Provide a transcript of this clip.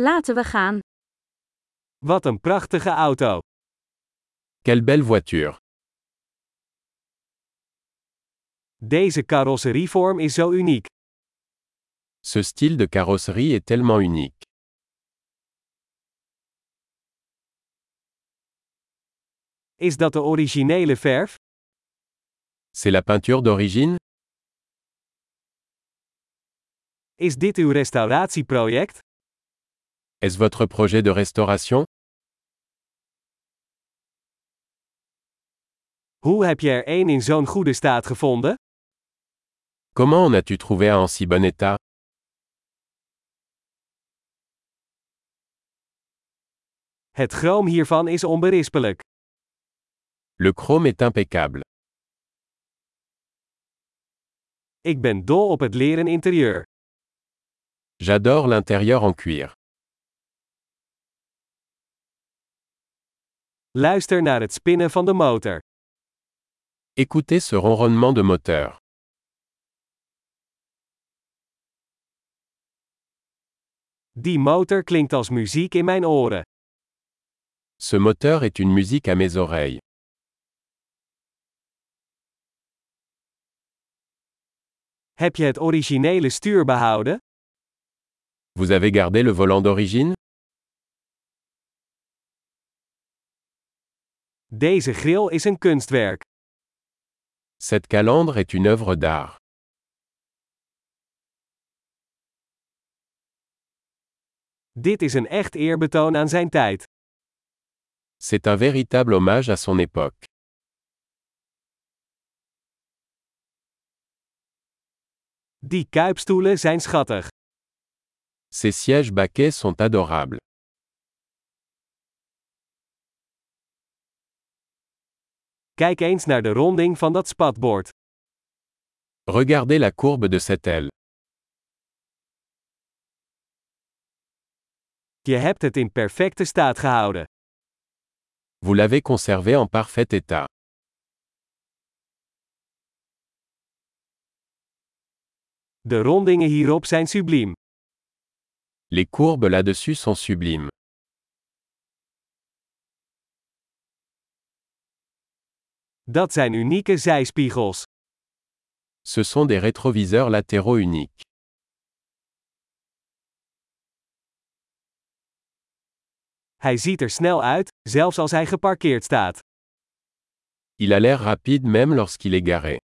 Laten we gaan. Wat een prachtige auto. Quelle belle voiture. Deze carrosserievorm is zo uniek. Ce style de carrosserie est tellement unique. Is dat de originele verf? C'est la peinture d'origine Is dit uw restauratieproject? Est-ce votre projet de restauration Hoe heb je er één in zo'n goede staat gevonden? Comment en as-tu trouvé un en si bon état Het chroom hiervan is onberispelijk. Le chrome est impeccable. Ik ben dol op het leren interieur. J'adore l'intérieur en cuir. Luister naar het spinnen van de motor. Écoutez ce ronronnement de moteur. Die motor klinkt als muziek in mijn oren. Ce moteur est une musique à mes oreilles. Heb je het originele stuur behouden? Vous avez gardé le volant d'origine Deze grill is een kunstwerk. Cette calandre est une œuvre d'art. Dit is een echt eerbetoon aan zijn tijd. C'est un véritable hommage à son époque. Die kuipstoelen zijn schattig. Ces sièges baquets sont adorables. Kijk eens naar de ronding van dat spatbord. Regardez la courbe de cette aile. Je hebt het in perfecte staat gehouden. Vous l'avez conservé en parfait état. De rondingen hierop zijn subliem. Les courbes là-dessus sont sublimes. Dat zijn unieke zijspiegels. Ce sont des rétroviseurs latéraux uniques. Hij ziet er snel uit, zelfs als hij geparkeerd staat. Il a l'air rapide même lorsqu'il est garé.